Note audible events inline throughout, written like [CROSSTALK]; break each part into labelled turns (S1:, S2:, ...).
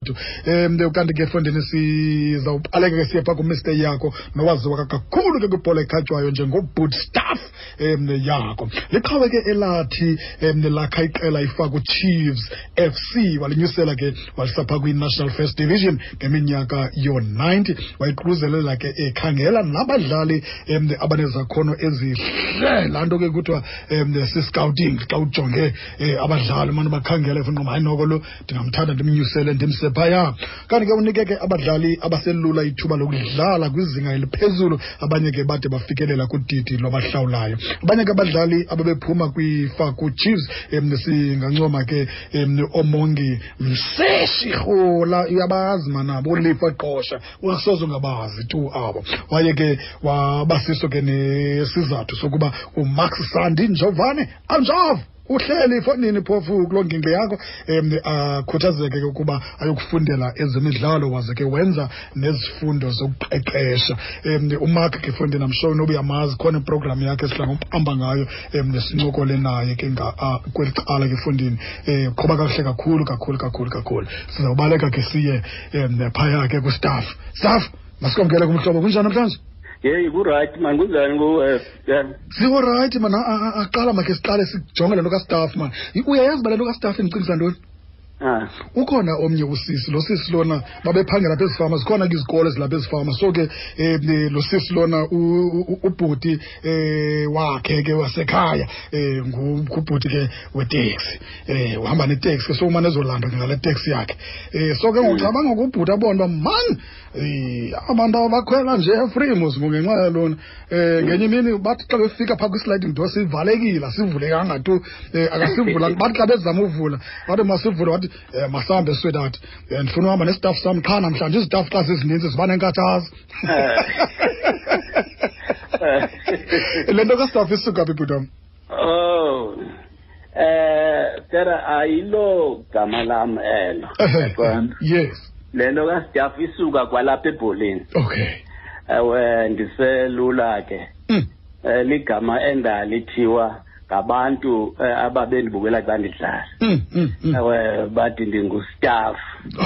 S1: wethu um kanti ke efondini sizawuqaleka ke siye phaa kumiste yakho nowaziwa kakhulu ke kwibhola ekhatywayo njengoboot staff um yakho liqhawe ke elathi um lakha iqela ifaka chiefs fc walinyusela ke walisapha kwi-national first division ngeminyaka yo-90 wayiququzelela ke ekhangela nabadlali um abanezakhono ezihle laa nto ke kuthiwa um si-scouting xa ujonge um abadlali umane bakhangela efuna uba hayi noko lo ndingamthanda ndimnyusele ndimse phaya kanti ke unike ke abadlali abaselula ithuba lokudlala kwizinga eliphezulu abanye ke bade bafikelela kudidi lwabahlawulayo abanye ke abadlali ababephuma kwifakuchiefs um singancoma ke um omongi mseshirhola uyabazi manabo ulifa qosha ungasoze ungabazi tu abo waye ke wabasiso ke nesizathu sokuba umax sandi njovane anjov uhleli efowunini phofu kuloo ngingqi yakho um akhuthazeke ke ukuba ayokufundela ezemidlalo waze ke wenza nezifundo zokuqeqesha um umark ke fondini amshowe noba uyamazi khona iprogram yakhe esihla ngokuhamba ngayo um sincokole naye ke kweli cala ke efondini um qhoba kakuhle kakhulu kakhulu kakhulu kakhulu sizawubaleka ke siye um phaya ke kustaff staff masikwamkele kumhlobo kunjani namhlanje
S2: yeyi kurayithi mani kunjani kuwe ya
S1: ziworayithi man aqala makhe siqale sijonge le nto kastaff man I- uyayazi uba le nto kastaff ndicingisa ntoni
S2: ah
S1: ukhona omnye usisi lo sisi lona babephangela apha ezifama zikhona ke izikolo ezilapha ezifama so ke um lo sisi lona u- u- ubhuti um wakhe ke wasekhaya um ngubhuti ke weteksi um uhamba neteksi ke so umane ezolanda ke ngale teksi yakhe um so ke ngokucabanga ngubhuti abona uba mani um abantu abakhwela nje efreemus ngenxa yalona um ngenye imini bathi xa befika phaa kwi-sliding door sivalekile asivulekanga tu um akasivulanga bathi xa bezama uvula wathi masivule wathi um masihambe swedathi um ndifuna uhamba nesitaff sam qha namhlanje izitaff xa zizininzi ziba nenkathazo
S2: Eh.
S1: [LAUGHS] le nto kastaff isuka phi bhutam
S2: oh eh tera ayilo gama lam elo yabona
S1: yes
S2: lento kastaff isuka kwalapha ebholeni
S1: okay
S2: ewe ndiselula ke
S1: Mm.
S2: Eh, ligama endalithiwa ngabantu eh, ababendibukela xa ndidlala
S1: Mm, mm, mm.
S2: ewe bathi ndingustaff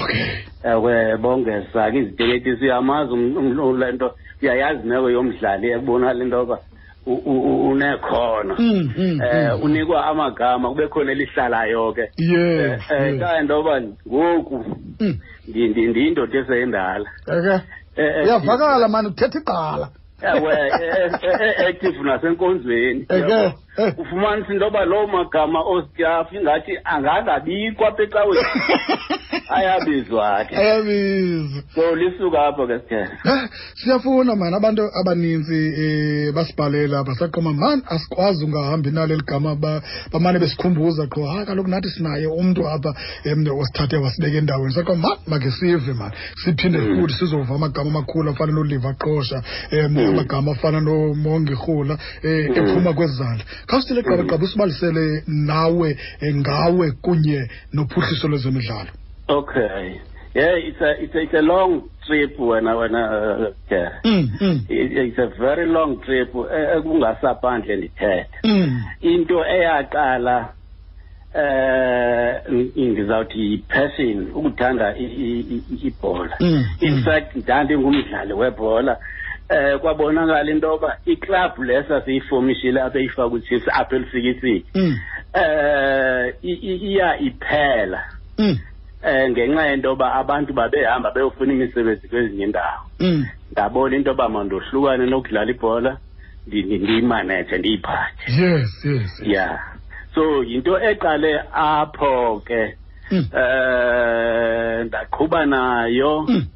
S1: okay
S2: ewe bongeza ke iziteketisi uyamazi um- um- um- le nto uyayazi meko yomdlali ekubona le nto yoba u- u- u- unekhona
S1: Mm, mm,
S2: um
S1: mm.
S2: unikwa amagama kube khona elihlalayo ke
S1: yes
S2: um
S1: yes.
S2: xa into yoba ngoku
S1: Mm.
S2: ndi- ndi- ndiyindoda eseyindala
S1: okay
S2: Eh, eh,
S1: uyavakala mani uthetha iqala
S2: ewe eh, eh, eh, active nasenkonzweni
S1: Eke, eh.
S2: ufumanisa into yoba loo magama ostaff ingathi angangabikwa apha ecaweni
S1: [LAUGHS]
S2: ayabizwa
S1: Eh.
S2: ke
S1: ayabizi
S2: so lisuka apho ke sithele
S1: Eh, siyafuna mani abantu abaninzi um basibhalela basaqoma mani asikwazi ungahambi nalo eli gama ba- bamane besikhumbuza qho hayi kaloku nathi sinaye umntu apha um osithathe wasibeka endaweni saqoma mani makhe sive mani siphinde futhi sizova amagama amakhulu afana noliva qosha um amagama afana nomongi rhula um ephuma kwezandla khawusitile gqaba gqaba usibalisele nawe eh, ngawe kunye nophuhliso lwezemidlalo
S2: Okay. Yeah, it's a it's a, it's a long trip when I when I, uh, yeah.
S1: Mm, mm,
S2: It- It's a very long trip eh, ekungasaphandle ndithetha.
S1: mm.
S2: Into eyaqala eh n- ndizawuthi yi-passion ukuthanda i- i- i- ibhola.
S1: Mm,
S2: In
S1: mm.
S2: fact ndandingumdlali webhola. Eh kwabonakala into yoba i-club lesa siyifomishile apha eyifaka kwi-Chiefs apha elifikisile.
S1: Mm,
S2: Eh i- i- iya iphela.
S1: mm,
S2: eh ngenxa yento yoba abantu babehamba beyofuna imisebenzi kwezinye indawo
S1: mm.
S2: ndabona into yoba mandohlukane nokudlala ibhola ndi- ndiyimaneje ndiyiphathe
S1: yes yes yes.
S2: ya so yinto eqale apho ke
S1: Mm.
S2: eh ndaqhuba nayo
S1: Mm.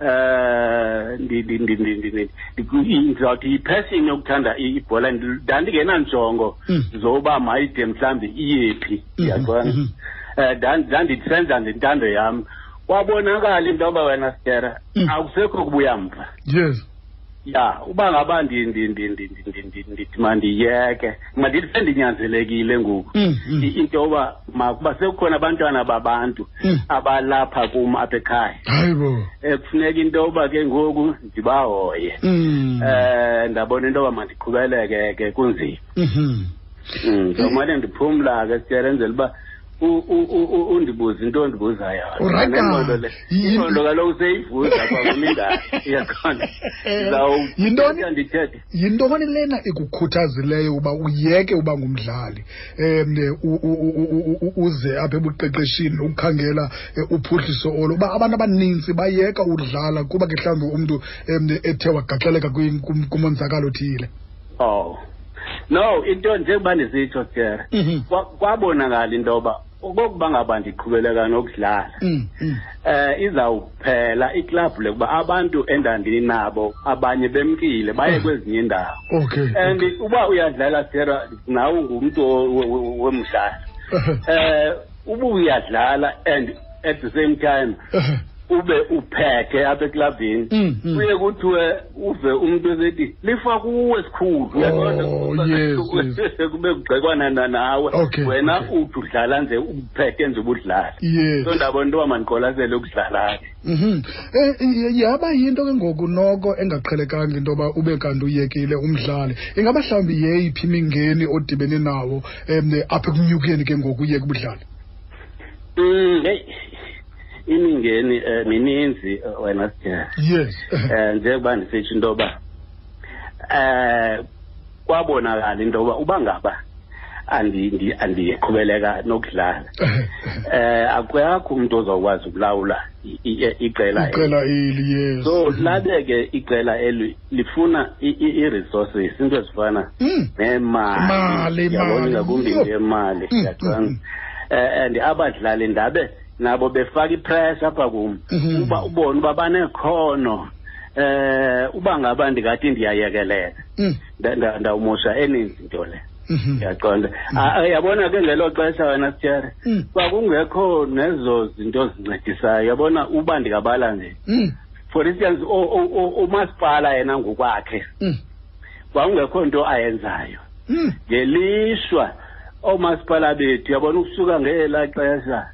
S2: eh ndi- ndi- ndi- ndi- ndi- ndi- ndi- ndizawuthi yiphesini yokuthanda i- ibhola Ndi- ndandingenanjongo
S1: Mm.
S2: zoba mayide mhlawumbi iyephi
S1: Mhm,
S2: ndiyaqona
S1: mhm.
S2: um ndandisenza ngentando yam kwabonakala into yoba wena stera
S1: Mm.
S2: akusekho kubuya mva
S1: yes
S2: ya uba ngaba ndi- ndi- ndi- ndi- ndi- ndi- ndi- ndithi mandiyeke mandithi sendinyanzelekile ngoku
S1: Mm, mm.
S2: I- into yoba makuba sekukhona abantwana babantu
S1: Mm.
S2: abalapha kum apha ekhaya
S1: hayi bo
S2: Eh, kufuneka into yoba ke ngoku ndibahoye
S1: Mm,
S2: eh ndabona into yoba mandiqhubeleke ke kunzima
S1: mhm. Mm.
S2: Mm, ndizawumane ndiphumla ke sityelenzela uba u- u- u- u- undibuze into ondibuzayo
S1: Alright,
S2: Nengqondo le-
S1: yini-
S2: ingqondo kaloku seyivuza kwakunindawo
S1: [LAUGHS]
S2: yakhona
S1: Eh, Yintoni?
S2: ndithethe
S1: yintoni lena ikukhuthazileyo uba uyeke uba ngumdlali um uze apha ebuqeqeshini ukukhangela eh, uphuhliso olo uba abantu abaninzi bayeka udlala kuba ke mhlawumbi umntu um ethe wagaxeleka kwin- kum- kumonzakalo othile
S2: oh no into njengoba ndisitsho jere
S1: Mhm.
S2: kwa- kwabonakala into yoba okokuba ngaba ndiqhubeleka nokudlala
S1: Mm, mm.
S2: eh izawuphela iklabhu lekuba abantu endandinabo abanye bemkile baye
S1: Mm.
S2: kwezinye indawo
S1: okay
S2: and uba uyadlala sera nawe ungumntu o- we- we- wemdlalo
S1: [LAUGHS]
S2: eh uba uyadlala and at the same time ube uphethe apha eklabhini
S1: Mm, mm.
S2: kuye kuthiwe uve umntu esethi lifa kuwe sikhulu Uyaqonda?
S1: Oh, yes,
S2: kube kugxekwana na- nawe
S1: Okay,
S2: wena
S1: okay.
S2: uthi udlala nje uphethe nje ubudlala
S1: yes
S2: so ndabona into yoba mandiqwalasele ukudlala ke
S1: Mhm. Eh, eh, yaba yinto ke ngoku noko engaqhelekanga into yoba ube kanti uyekile umdlali ingaba mhlawumbi yeyiphi imingeni odibene nawo um apha ekunyukeni ke ngoku uyeke ubudlali
S2: Mm, hey imingeni eh, mininzi eh, wena sijela
S1: yes
S2: eh njengoba ndisitsho into yoba eh kwabonakala into yoba uba ngaba andi- ndi- andiqhubeleka nokudlala eh akuyakho umuntu ozawukwazi ukulawula i- i- iqela eli.
S1: iqela eli yes
S2: so labe ke iqela eli lifuna i- i- i-resources into ezifana
S1: Mm. Imali,
S2: nemali yabona
S1: imali.
S2: ngakumbi
S1: Yho.
S2: into yemali
S1: Mm,
S2: siyaqanga
S1: mm,
S2: eh and abadlali ndabe nabo befaka ipressure apha kum
S1: Mhm.
S2: uba ubone uba banekhono eh uba ngaba ndingathi ndiyayekeleka
S1: Mm,
S2: nda- nda- ndawumosha eninzi into le
S1: mhm.
S2: ndiyaqonda Ah, ah, yabona ke ngelo xesha wena sithere
S1: Mm,
S2: kwakungekho nezo zinto zincedisayo yabona uba ndingabala nje
S1: mm,
S2: for instance o- o- o- umasipala yena ngokwakhe
S1: mm,
S2: kwakungekho nto ayenzayo
S1: mm.
S2: ngelishwa oomasipala bethu yabona ukusuka ngela xesha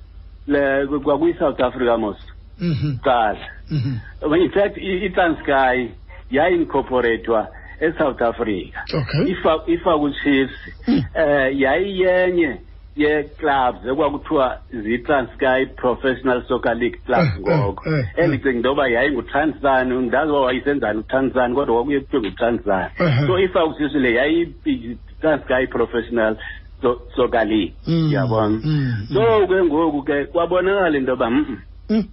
S2: le- kwakuyi-south africa mos
S1: Mhm,
S2: kuqala
S1: mhm.
S2: in fact i- itranskay yayincorporatwa esouth africa
S1: okay
S2: ifa- ifakwe ichiefs
S1: Mm.
S2: um yayiyenye yee-clubs ekwakuthiwa zii-transkay professional soccer league clubs
S1: Eh,
S2: ngoko
S1: eh, eh, eh.
S2: endicinga into yoba yayingutransan ndazi uba wayisenzani utransan kodwa kwakuye kuthiwe ngutransan
S1: Eh, eh.
S2: so ifakwisisi le yayi-transkay professional So- soccer league
S1: Mm,
S2: yabona
S1: mm,
S2: so ke ngoku ke kwabonakala into yoba mm, mm,
S1: Mm,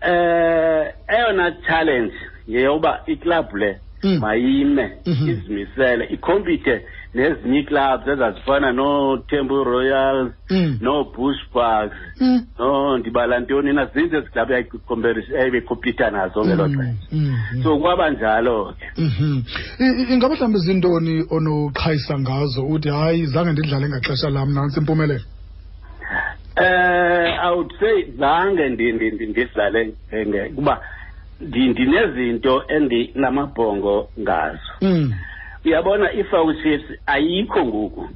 S2: eh eyona challenge yeyoba iclub le
S1: Mm.
S2: mayime
S1: Mhm.
S2: izimisele ikhompite nezinye iclubs ezazifana nootemple royals
S1: mm,
S2: noobush bucks
S1: mm.
S2: no ndibala ntoni na zinto eziklabhu yayikhompyutha nazo ngelo xesha
S1: Mm, mm, mm.
S2: so kwaba njalo ke
S1: Mhm. I- i- ingaba mhlawumbi zintoni onoqhayisa ngazo uthi hayi zange ndidlale ngaxesha lam nantsi impumelelo
S2: Eh I would say zange ndi- ndi- ndi- ndidlale nge- nge- kuba ndi- ndinezinto endinamabhongo ngazo
S1: Mm,
S2: uyabona i-foul chiefs ayikho ngoku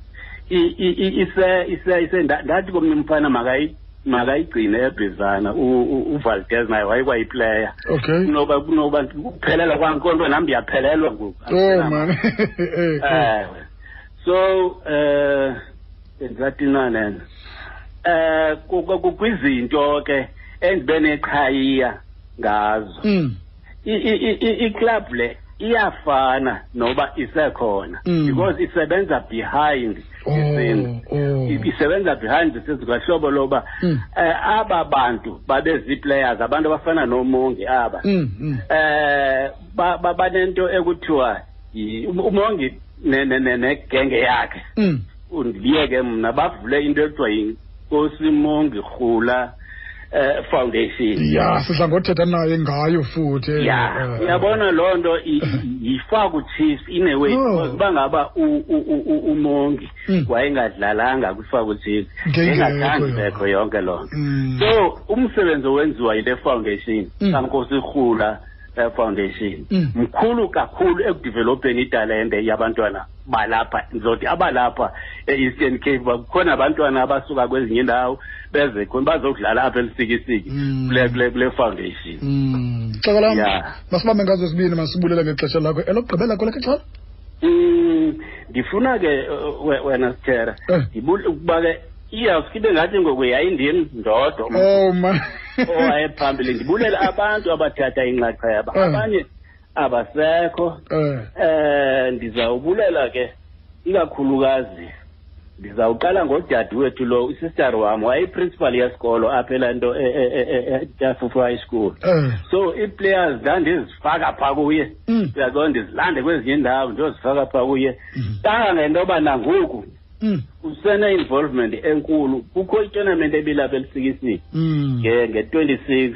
S2: I- i- i- ise- ise- ise- nda- ndathi komnye umfana makayi- makayigcine ebhizana U- u- uvaldez naye wayekwayiplayer
S1: okay
S2: kunoba kunoba ukuphelela kwankonto nam ndiyaphelelwa ngoku
S1: oh man [LAUGHS] Eh, eh.
S2: ewe so eh ndizathinanene eh ku- ku- ku- kwizinto ke endibe neqhayiya ngazo
S1: Mm,
S2: I- i- i- i- i-club le iyafana noba isekhona
S1: Mm.
S2: because isebenza behind
S1: Oh,
S2: izinto
S1: oh.
S2: I- isebenza behind isenzo kwahlobo loba
S1: Mm.
S2: eh aba bantu babezii-players abantu abafana noomongi aba
S1: mm, mm.
S2: eh ba- ba- banento ekuthiwa yi- um- umongi ne- ne- ne- negenge yakhe
S1: Mm,
S2: undibiyeke mna bavule into ekuthiwa yinkosi mongi rhula eh foundation
S1: ya sidla ngothetha naye ngayo futhi eh,
S2: ya
S1: eh.
S2: uyabona loo nto i- i- yifaka uchiefs ineway
S1: Mm. Oh.
S2: because uba ngaba u- u- u- u- umongi
S1: Mm.
S2: wayengadlalangako ifaka uchiefs
S1: Ngengekho
S2: engakhange
S1: yona.
S2: bekho yonke loo nto
S1: Mm,
S2: so umsebenzi owenziwa yile foundation
S1: Mm.
S2: kankosi rhula eh, foundation
S1: Mm.
S2: mkhulu kakhulu ekudivelopeni italente yabantwana balapha ndizothi abalapha e-eastern cape ba- kukhona abantwana abasuka kwezinye indawo beze khona bazodlala apha elisikisiki
S1: Mm.
S2: kule kule kule foundation
S1: mm. xeka lam
S2: Ya.
S1: masibambe ngazo sibini masibulele ngexesha lakho elokugqibela kwelekhe xhala
S2: Mm, ndifuna ke uh, we- wena sithera
S1: Eh.
S2: ukuba ke iyawusikibe ngathi ngoku yayindim ndodwa
S1: oh man [LAUGHS]
S2: owayephambili ndibulela abantu abathatha inxaxheba
S1: Eh.
S2: abanye abasekho
S1: eh
S2: eh ndizawubulela ke ikakhulukazi ndizawuqala ngodade wethu lo usister wam wayeyiprincipal yesikolo apha elaa nto e- e- e- e- e- eTafufwa high school
S1: eh
S2: so ii-players ndandizifaka phaa kuye
S1: Mm.
S2: uyaqona ndizilande kwezinye iindawo ndiyozifaka phaa kuye
S1: Mhm.
S2: kangangento yoba nangoku
S1: mm
S2: usene-involvement enkulu kukho itournament ebilapha elisikisini
S1: mm
S2: nge nge-26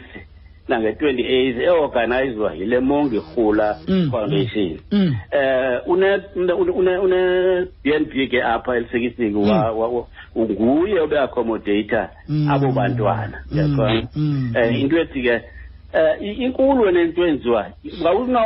S2: nange-28 eorganizwa yile mongi rhula
S1: Mm.
S2: foundation
S1: mm
S2: eh une une une BNB ke apha elisekisiki wa
S1: Mm.
S2: wa- wa- nguye obe accommodator
S1: Mm.
S2: abo bantwana
S1: Mm.
S2: yakho
S1: Mm.
S2: eh into ethi ke eh i- inkulu nento enziwayo ngawuna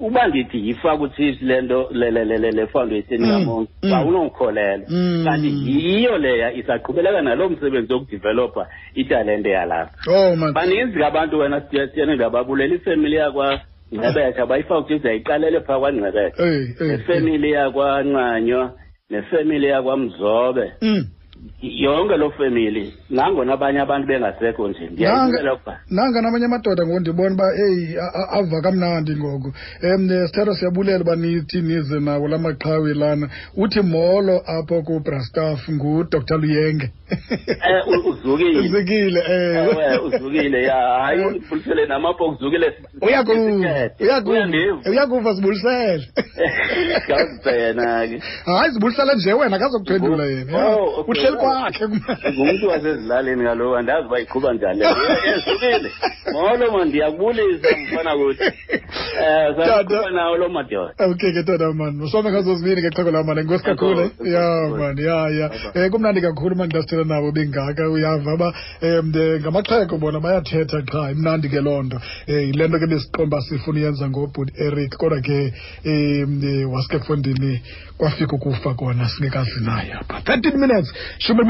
S2: uba ndithi yifa ku chiefs lento le le le- le le foundation
S1: Mm.
S2: ngamonke
S1: Mm.
S2: awunongikholela
S1: Mm.
S2: kanti yiyo leya isaqhubeleka nalo msebenzi wokudevelopha italente yalapha
S1: oh man
S2: baninzi ke abantu wena siyene ngababulela ifemily yakwangcebetha bayifaka ukuthi ayiqalele phaa kwangcebetha
S1: Ah. eh eh
S2: nefemily yakwanqanywa nefemily yakwamzobe
S1: mm
S2: yonke loo femily nangona abanye abantu bengasekho nje ndiyayibukela ukuba
S1: nanga namanye amadoda ngoku ndibona uba eyi a- a- ava kamnandi ngoku um sithatha siyabulela uba nithi nize nawo la maqhawe lana uthi molo apho kubrastaf ngudr luyenge
S2: Eh, u- uzukile.
S1: [LAUGHS] uzukile eh.
S2: ewe
S1: ewe
S2: uzukile ya hayi ubulisele namapho uzukile
S1: uyakuva uyakuva [LAUGHS] uyakuva sibulisele
S2: Eh. gawuzisa yena ke
S1: hayi sibulisele nje wena akazokuphendula yena
S2: Oh, okay.
S1: uhleli kwakhe
S2: ngumntu wasezilalini kaloku andazi uba iqhuba njani le nto. Eh, ezukile molo ma ndiyakubulisa mfana kuthi um saqhuba nawo loo madoda
S1: okay Eh, ke tata man usome ngazo zibini ke xhego lam man enkosi kakhulu eh?
S2: Enkosi,
S1: ya
S2: enkosi.
S1: man ya ya
S2: Bye-bye.
S1: um kumnandi kakhulu uma ndasithela nabo bengaka uyava uba um ngamaxhego bona bayathetha qha imnandi ke loo nto um yile nto ke besiqomba sifuna uyenza ngobhut eric kodwa ke eh, um wasike fondini kwafika ukufa kona singekazi naye apha thirteen minutes shumi